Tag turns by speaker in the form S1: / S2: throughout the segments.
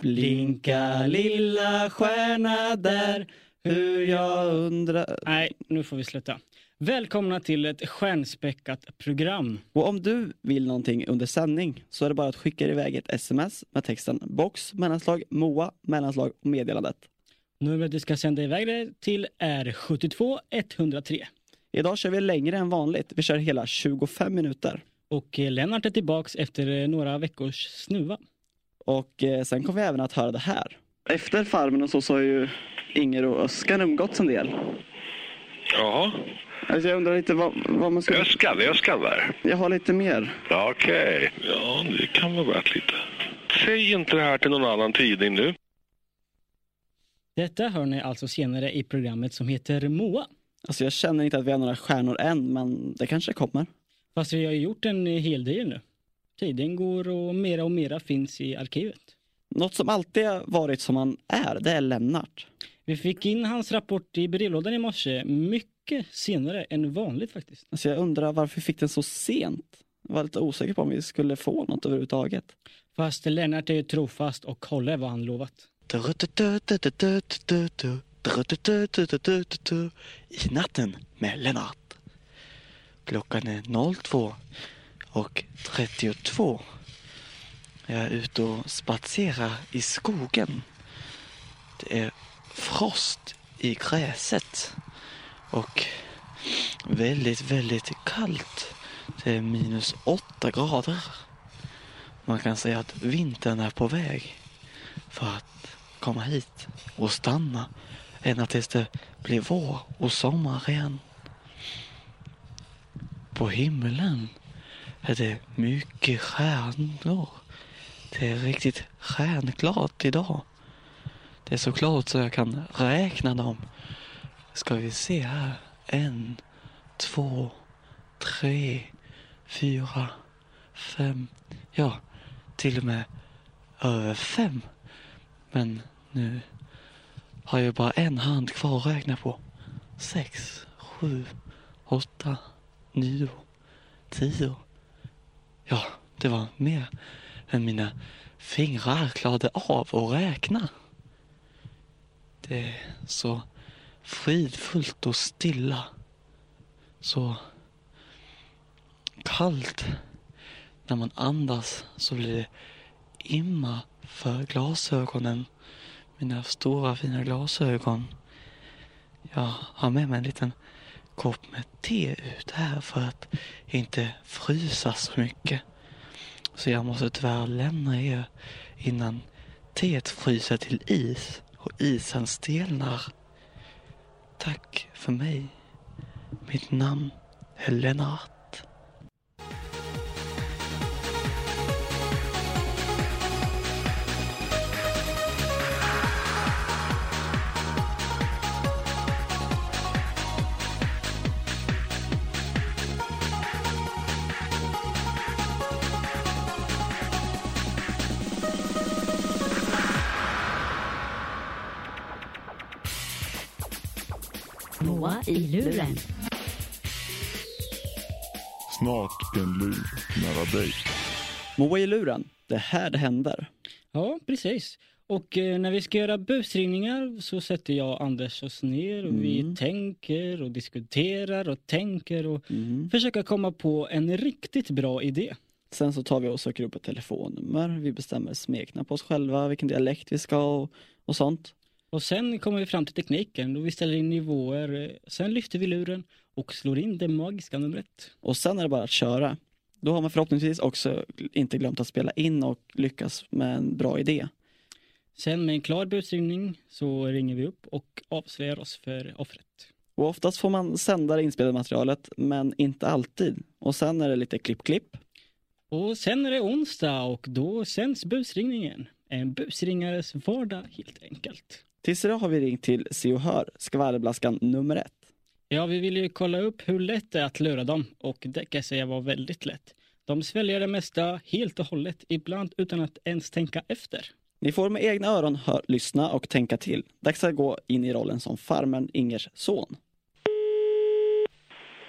S1: Blinka lilla stjärna där, hur jag undrar...
S2: Nej, nu får vi sluta. Välkomna till ett stjärnspäckat program.
S1: Och om du vill någonting under sändning så är det bara att skicka iväg ett sms med texten box, mellanslag, moa, mellanslag och meddelandet.
S2: Numret vi ska sända iväg det till är 72 103.
S1: Idag kör vi längre än vanligt. Vi kör hela 25 minuter.
S2: Och eh, Lennart är tillbaks efter eh, några veckors snuva.
S1: Och eh, sen kommer vi även att höra det här. Efter Farmen och så, så har ju Inger och Öskan umgåtts en del.
S3: Jaha,
S1: Alltså jag undrar lite vad, vad man ska...
S3: Öskan, Öskan där.
S1: Jag har lite mer.
S3: Ja, Okej, ja det kan vara värt lite. Säg inte det här till någon annan tidning nu.
S2: Detta hör ni alltså senare i programmet som heter Moa.
S1: Alltså jag känner inte att vi har några stjärnor än, men det kanske kommer.
S2: Fast vi har ju gjort en eh, hel del nu. Tiden går och mera och mera finns i arkivet.
S1: Något som alltid har varit som han är, det är Lennart.
S2: Vi fick in hans rapport i brevlådan i morse mycket senare än vanligt faktiskt.
S1: Alltså jag undrar varför vi fick den så sent? Jag var lite osäker på om vi skulle få något överhuvudtaget.
S2: Fast Lennart är ju trofast och håller vad han lovat.
S1: I natten med Lennart. Klockan är 02 och 32. Jag är ute och spatserar i skogen. Det är frost i gräset och väldigt, väldigt kallt. Det är minus 8 grader. Man kan säga att vintern är på väg för att komma hit och stanna ända tills det blir vår och sommar igen. På himlen är det mycket stjärnor. Det är riktigt stjärnklart idag. Det är så klart så jag kan räkna dem. Ska vi se här. En, två, tre, fyra, fem. Ja, till och med över fem. Men nu har jag bara en hand kvar att räkna på. Sex, sju, åtta, nio, tio. Ja, det var mer än mina fingrar klarade av att räkna. Det är så fridfullt och stilla. Så kallt. När man andas så blir det imma för glasögonen. Mina stora fina glasögon. Jag har med mig en liten kopp med te ut här för att inte frysa så mycket. Så jag måste tyvärr lämna er innan teet fryser till is och isen stelnar. Tack för mig. Mitt namn är Lennart.
S4: Moa i luren.
S5: Snart en lur nära dig.
S1: Moa i luren. Det är här det händer.
S2: Ja, precis. Och eh, när vi ska göra busringningar så sätter jag och Anders oss ner och vi
S1: Mm.
S2: tänker och diskuterar och tänker och
S1: Mm.
S2: försöker komma på en riktigt bra idé.
S1: Sen så tar vi och söker upp ett telefonnummer. Vi bestämmer smekna på oss själva, vilken dialekt vi ska och, och sånt.
S2: Och sen kommer vi fram till tekniken och vi ställer in nivåer. eh, Sen lyfter vi luren och slår in det magiska numret.
S1: Och sen är det bara att köra. Då har man förhoppningsvis också inte glömt att spela in och lyckas med en bra idé.
S2: Sen med en klar busringning så ringer vi upp och avslöjar oss för offret.
S1: Och oftast får man sända det inspelade materialet, men inte alltid. Och sen är det lite klipp-klipp.
S2: Och sen är det onsdag och då sänds busringningen. En busringares vardag helt enkelt.
S1: Tills idag har vi ringt till Se och Hör, skvallerblaskan nummer ett.
S2: Ja, vi ville ju kolla upp hur lätt det är att lura dem och det kan jag säga var väldigt lätt. De sväljer det mesta helt och hållet, ibland utan att ens tänka efter.
S1: Ni får med egna öron hör, lyssna och tänka till. Dags att gå in i rollen som farmen Ingers son.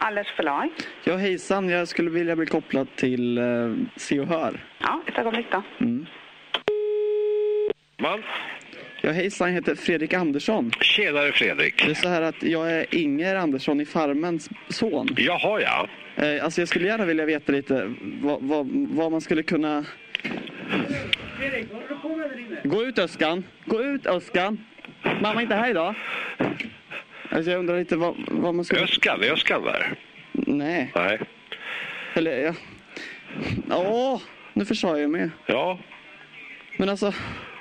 S6: Allers förlag.
S1: Ja hejsan, jag skulle vilja bli kopplad till eh, Se och Hör.
S6: Ja, ett ögonblick då.
S1: Mm.
S3: Va?
S1: Ja, hejsan, jag heter Fredrik Andersson.
S3: Tjenare Fredrik.
S1: Det är så här att jag är Inger Andersson i Farmens son.
S3: Jaha ja.
S1: Eh, alltså jag skulle gärna vilja veta lite vad, vad, vad man skulle kunna... Gå ut Öskan! Gå ut Öskan! Mamma är inte här idag. Alltså jag undrar lite vad, vad man skulle...
S3: Öskan, är Öskan där?
S1: Nej,
S3: Nej.
S1: eller ja... Åh, nu försade jag mig.
S3: Ja,
S1: Men alltså,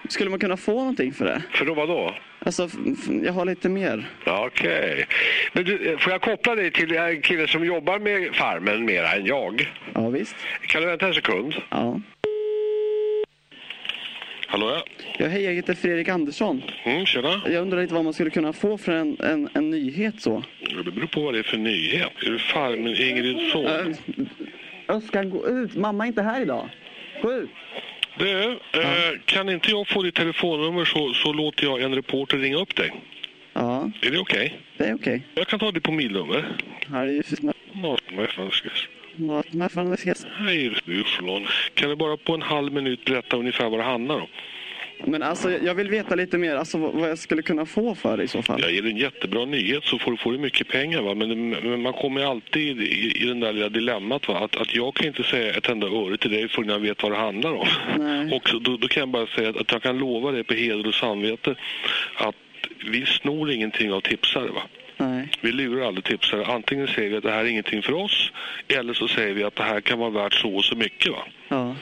S1: skulle man kunna få någonting för det?
S3: för då vadå?
S1: Alltså, f- f- jag har lite mer.
S3: Ja, Okej. Men du, eh, får jag koppla dig till en kille som jobbar med Farmen mera än jag?
S1: Ja, visst.
S3: Kan du vänta en sekund?
S1: Ja.
S3: Hallå ja.
S1: Ja, hej, jag heter Fredrik Andersson.
S3: Mm, tjena.
S1: Jag undrar lite vad man skulle kunna få för en, en, en nyhet så.
S3: Det beror på vad det är för nyhet. Är du Farmen Ingrid son?
S1: Ö- Öskan, gå ut. Mamma är inte här idag. Gå ut.
S3: Du, eh, kan inte jag få ditt telefonnummer så, så låter jag en reporter ringa upp dig.
S1: Ja,
S3: Är det okej?
S1: det är okej.
S3: Jag kan ta ditt mobilnummer.
S1: Här är ju fina-
S3: Ja, vad fan ska jag säga?
S1: vad- vad fan det ses.
S3: Hej, Uflon. Kan du bara på en halv minut berätta ungefär vad det handlar om?
S1: Men alltså, jag vill veta lite mer alltså, vad vad jag skulle kunna få för det i så fall.
S3: Jag ger dig en jättebra nyhet så får du, får du mycket pengar. Va? Men, men man kommer ju alltid i, i den där lilla dilemmat. Va? Att, att jag kan inte säga ett enda öre till dig förrän jag vet vad det handlar om.
S1: Nej.
S3: Och så, då, då kan jag bara säga att, att jag kan lova dig på heder och samvete att vi snor ingenting av tipsare. Va?
S1: Nej.
S3: Vi lurar aldrig tipsare. Antingen säger vi att det här är ingenting för oss eller så säger vi att det här kan vara värt så och så mycket. Va?
S1: Ja.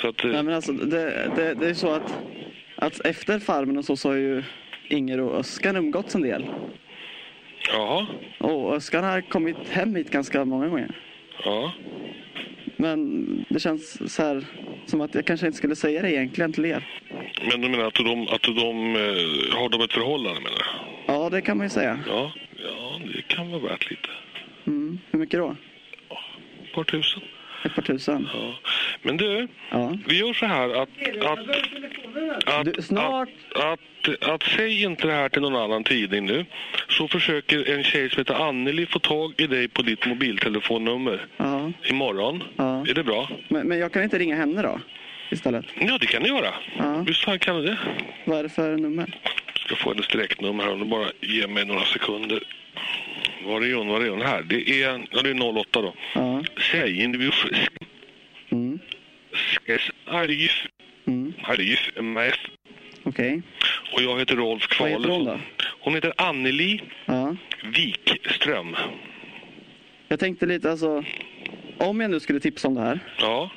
S3: Så att, eh,
S1: Nej men alltså, det, det, det är så att, att efter farmen och så, så har ju Inger och Öskan umgåtts en del.
S3: jaha.
S1: Och Öskan har kommit hem hit ganska många gånger.
S3: Ja.
S1: Men det känns så här som att jag kanske inte skulle säga det egentligen till er.
S3: Men du menar att de, att de eh, har de ett förhållande menar du?
S1: Ja, det kan man ju säga.
S3: Ja, ja, det kan vara värt lite.
S1: Mm. Hur mycket då?
S3: Ett par tusen.
S1: Ett par tusen?
S3: Ja. Men du,
S1: Ja.
S3: vi gör så här att... att, att,
S1: Du, snart!
S3: Att, att, att säg inte det här till någon annan tidning nu. Så försöker en tjej som heter Anneli få tag i dig på ditt mobiltelefonnummer
S1: Ja.
S3: imorgon.
S1: Ja.
S3: Är det bra?
S1: Men, men jag kan inte ringa henne då? Istället?
S3: Ja, det kan du göra.
S1: Ja.
S3: Visst fan kan du det?
S1: Vad är det för nummer?
S3: ska få hennes direktnummer här om du bara ger mig några sekunder. Var är hon? Var är hon? Här. Det är, ja, det är 08 då.
S1: Ja.
S3: Säg individuell...
S1: Mm.
S3: Arif,
S1: Mm.
S3: Arif MF.
S1: Okej.
S3: Och jag heter Rolf
S1: Vad heter hon då?
S3: Kvalesson. Hon heter Anneli
S1: Ja.
S3: Wikström.
S1: Jag tänkte lite alltså. Om jag nu skulle tipsa om det här.
S3: Ja.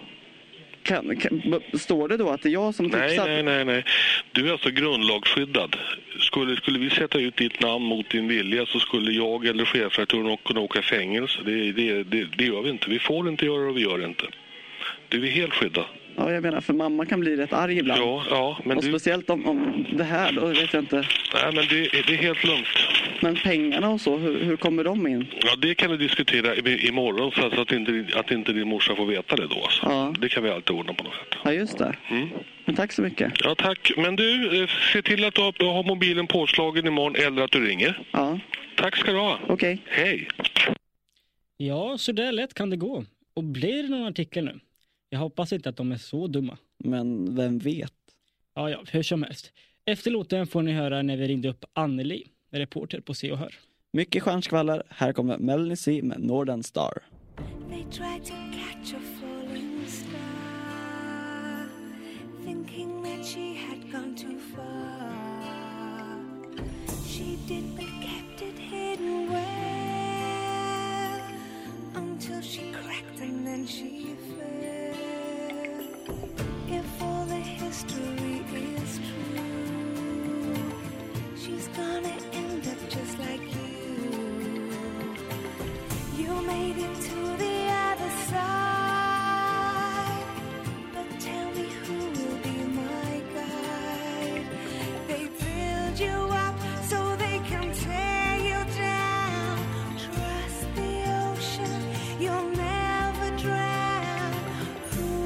S1: Kan, kan, b- står det då att det är jag som
S3: Nej,
S1: tipsar?
S3: nej, nej, nej. Du är alltså grundlagsskyddad. Skulle, skulle vi sätta ut ditt namn mot din vilja så skulle jag eller chefredaktören kunna åka i fängelse. Det, det, det, det gör vi inte. Vi får inte göra det och vi gör det inte. Du är helt skyddad.
S1: Ja, jag menar för mamma kan bli rätt arg ibland.
S3: Ja, ja, men
S1: Och
S3: du,
S1: speciellt om, om det här då, vet jag inte.
S3: nej, men det, det är helt lugnt.
S1: Men pengarna och så, hur, hur kommer de in?
S3: Ja, det kan du diskutera i- imorgon så att- så att inte, att inte din morsa får veta det då. Alltså.
S1: Ja.
S3: Det kan vi alltid ordna på något sätt.
S1: Ja, just det.
S3: Mm.
S1: Men tack så mycket.
S3: Ja, tack. Men du, eh, se till att du har, har mobilen påslagen imorgon eller att du ringer.
S1: Ja,
S3: Tack ska du ha.
S1: okej.
S3: Hej!
S2: Ja, så där lätt kan det gå. Och blir det någon artikel nu? Jag hoppas inte att de är så dumma.
S1: Men vem vet?
S2: Ja, ja, hur som helst. Efter låten får ni höra när vi ringde upp Anneli, reporter på Se och Hör.
S1: Mycket stjärnskvaller. Här kommer Melanie C med Northern Star.
S7: They try to catch a falling star, thinking that she had gone too far. She did, but kept it hidden well until she cracked and then she fell. If all the history is true, she's gonna end up just like you. You made it to the other side. But tell me who will be my guide. They build you up so they can tear you down. Trust the ocean, you'll never drown.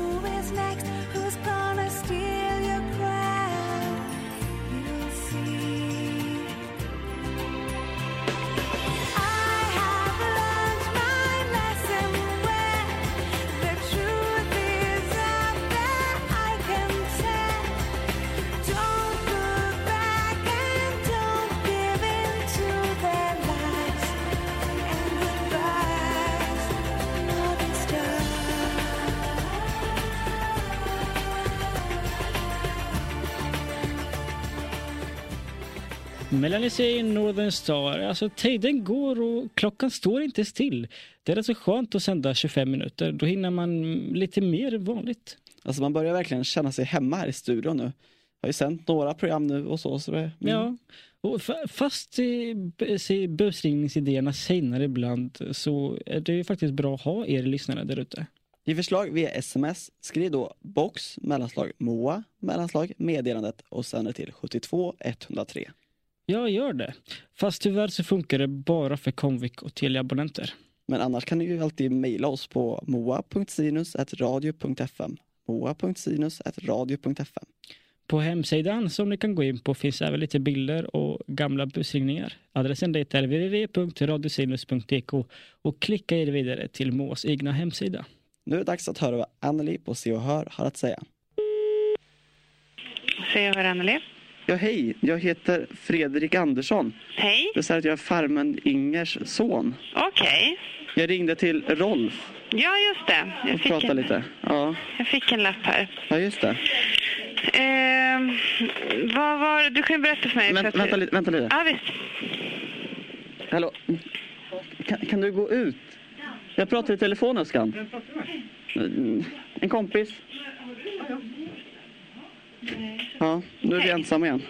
S2: Melanie säger Northern Star. Alltså tiden går och klockan står inte still. Det är rätt så skönt att sända 25 minuter. Då hinner man lite mer än vanligt.
S8: Alltså man börjar verkligen känna sig hemma här i studion nu. Jag har ju sänt några program nu och så. så det, mm.
S2: Ja. Och fa- fast eh, b- se- busringningsidéerna senare ibland så är det ju faktiskt bra att ha er lyssnare där ute.
S8: Ge förslag via sms. Skriv då box, mellanslag MOA, mellanslag meddelandet och sänd det till 72 103.
S2: Jag gör det. Fast tyvärr så funkar det bara för Comviq och Telia-abonnenter.
S8: Men annars kan ni ju alltid mejla oss på moa.sinus.radio.fm moa.sinus.radio.fm
S2: På hemsidan som ni kan gå in på finns även lite bilder och gamla busringningar. Adressen dit är www.radiosinus.dk och klicka er vidare till Moas egna hemsida.
S8: Nu är det dags att höra vad Anneli på Se och Hör har att säga.
S6: Se och hör Anneli.
S1: Ja, hej. Jag heter Fredrik Andersson.
S6: Hej.
S1: Det är så här att jag är farmen Ingers son.
S6: Okej.
S1: Jag ringde till Rolf
S6: Ja, just det.
S1: och
S6: Jag fick,
S1: pratade
S6: en,
S1: lite. Ja,
S6: jag fick en lapp här.
S1: ja just det.
S6: Ehm, vad var Du kan ju berätta för mig.
S1: Vänt,
S6: för att-
S1: vänta lite. Vänta lite.
S6: Ja, visst.
S1: Hallå. Kan, kan du gå ut? Jag pratar i telefon, Öskan. Mm, En kompis. Ja, nu är vi
S6: Hej.
S1: ensamma igen.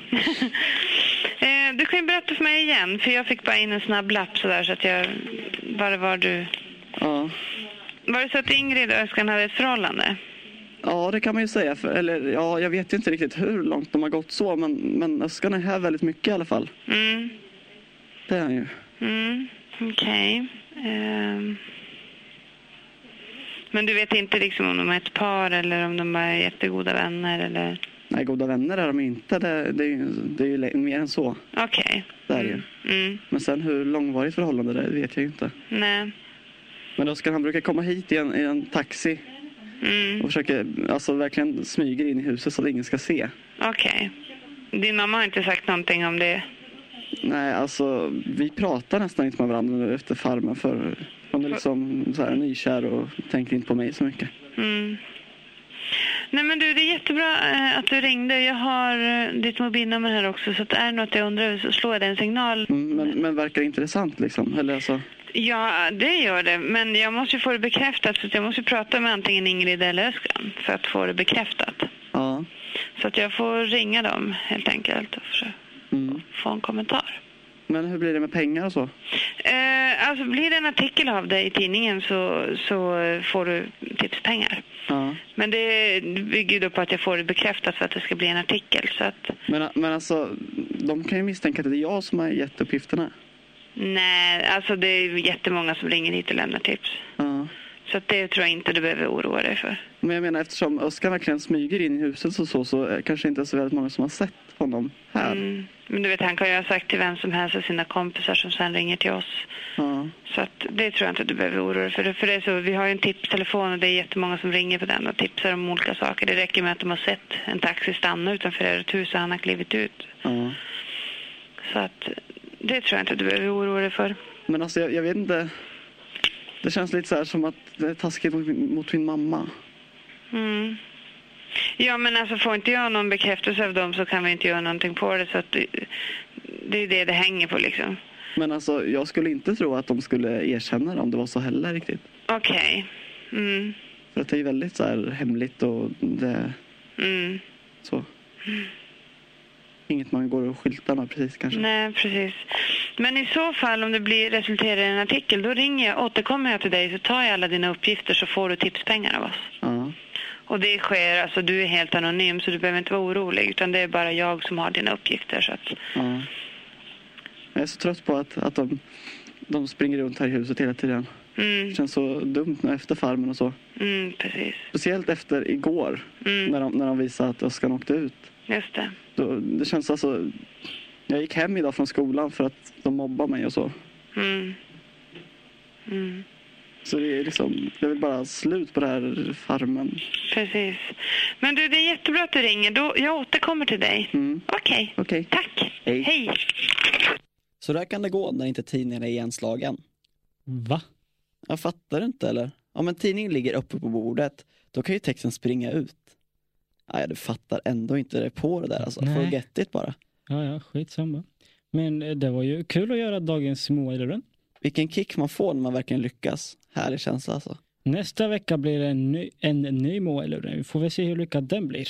S6: Ehm, du kan ju berätta för mig igen, för jag fick bara in en snabb lapp sådär så att jag... Bara var du...
S1: Ja.
S6: Var det så att Ingrid och Öskan hade ett förhållande?
S1: ja, det kan man ju säga. För, eller ja, jag vet ju inte riktigt hur långt de har gått så, men, men Öskan är här väldigt mycket i alla fall.
S6: Mm.
S1: Det är han ju.
S6: Mm. Okej. Ehm. Men du vet inte liksom om de är ett par eller om de bara är jättegoda vänner eller...
S1: Nej, goda vänner är de ju inte. Det, det, är, ju, det är ju le- mer än så.
S6: Okej.
S1: Det är det ju.
S6: Mm.
S1: Men sen hur långvarigt förhållande det är, det vet jag ju inte.
S6: Nej.
S1: Men Öskan han brukar komma hit i en, i en taxi
S6: Mm.
S1: och försöker, alltså verkligen smyger in i huset så att ingen ska se.
S6: Okej. Din mamma har inte sagt någonting om det?
S1: Nej, alltså vi pratar nästan inte med varandra nu efter farmen för hon är liksom så här nykär och tänker inte på mig så mycket.
S6: Mm. Nej men du, det är jättebra eh, att du ringde. Jag har eh, ditt mobilnummer här också så att är det något jag undrar så slår jag dig en signal.
S1: Mm, Men, men verkar intressant liksom. Eller alltså,
S6: Ja, det gör det. Men jag måste ju få det bekräftat så att jag måste ju prata med antingen Ingrid eller Öskan för att få det bekräftat.
S1: ja.
S6: Så att jag får ringa dem helt enkelt och försöka
S1: Mm.
S6: få en kommentar.
S1: Men hur blir det med pengar och så?
S6: Eh, alltså blir det en artikel av dig i tidningen så, så eh, får du tipspengar.
S1: Ja.
S6: Men det bygger ju då på att jag får det bekräftat för att det ska bli en artikel. Så att
S1: Men, men alltså, de kan ju misstänka att det är jag som har gett uppgifterna.
S6: nej, alltså det är ju jättemånga som ringer hit och lämnar tips.
S1: Ja.
S6: Så att det tror jag inte du behöver oroa dig för.
S1: Men jag menar eftersom Öskan verkligen smyger in i huset och så, så är det kanske inte så väldigt många som har sett honom här.
S6: Mm. Men du vet, han kan ju ha sagt till vem som helst av sina kompisar som sen ringer till oss.
S1: Ja.
S6: Så att det tror jag inte att du behöver oroa dig för. Det- för det är så, vi har ju en tipstelefon och det är jättemånga som ringer på den och tipsar om olika saker. Det räcker med att de har sett en taxi stanna utanför ert hus och han har klivit ut.
S1: ja.
S6: Så att det tror jag inte att du behöver oroa dig för.
S1: Men alltså jag, jag vet inte. Det känns lite så här som att det är taskigt mot min, mot min mamma.
S6: Mm. Ja, men alltså får inte jag någon bekräftelse av dem så kan vi inte göra någonting på det. Så att det, det är det det hänger på liksom.
S1: Men alltså jag skulle inte tro att de skulle erkänna det om det var så heller riktigt.
S6: Okej. Mm.
S1: För att det är ju väldigt så här hemligt och det
S6: Mm.
S1: så. Inget man går och skyltar med precis kanske.
S6: Nej, precis. Men i så fall om det blir resulterar i en artikel, då ringer jag, återkommer jag till dig så tar jag alla dina uppgifter så får du tipspengar av oss.
S1: Ja.
S6: Och det sker, alltså du är helt anonym så du behöver inte vara orolig utan det är bara jag som har dina uppgifter så att,
S1: ja. Jag är så trött på att, att de, de springer runt här i huset hela tiden.
S6: mm,
S1: Det känns så dumt nu efter farmen och så.
S6: mm, precis.
S1: Speciellt efter igår när,
S6: Mm,
S1: de, när de visade att Öskan åkte ut.
S6: just det.
S1: Då, det känns alltså... Jag gick hem idag från skolan för att de mobbar mig och så.
S6: Mm. Mm.
S1: Så det är liksom... Jag vill bara slut på det här farmen.
S6: Precis. Men du, det är jättebra att du ringer. Då, jag återkommer till dig.
S1: Mm.
S6: Okej,
S1: Okej.
S6: tack.
S1: Hej.
S6: Hej.
S8: Så där kan det gå när inte tidningen är igenslagen.
S2: Va?
S8: Jag fattar inte eller? Om en tidning ligger uppe på bordet, då kan ju texten springa ut. Nej, du fattar ändå inte det på det där alltså.
S2: Nej.
S8: Forget it bara.
S2: Ja, ja, skitsamma. Men eh, det var ju kul att göra dagens Moa i luren.
S1: Vilken kick man får när man verkligen lyckas. Härlig känsla alltså.
S2: Nästa vecka blir det en ny, en ny Moa i luren. Vi får väl se hur lyckad den blir.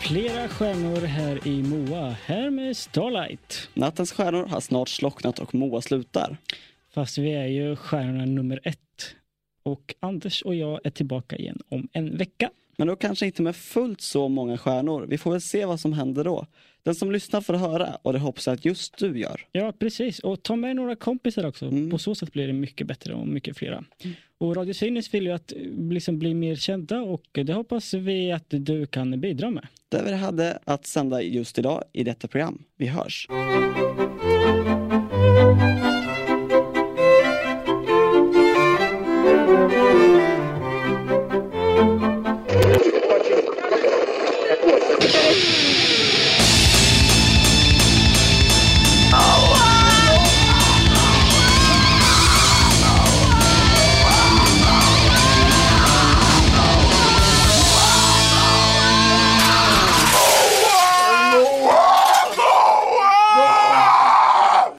S2: Flera stjärnor här i Moa. Här med Starlight.
S1: Nattens stjärnor har snart slocknat och Moa slutar.
S2: Fast vi är ju stjärnorna nummer ett. Och Anders och jag är tillbaka igen om en vecka.
S1: Men då kanske inte med fullt så många stjärnor. Vi får väl se vad som händer då. Den som lyssnar får höra och det hoppas jag att just du gör.
S2: Ja, precis. Och ta med några kompisar också.
S1: Mm.
S2: På så sätt blir det mycket bättre och mycket flera. Och Radio Sinus vill ju att eh, liksom bli mer kända och det hoppas vi att du kan bidra med.
S1: Det vi hade att sända just idag i detta program. Vi hörs!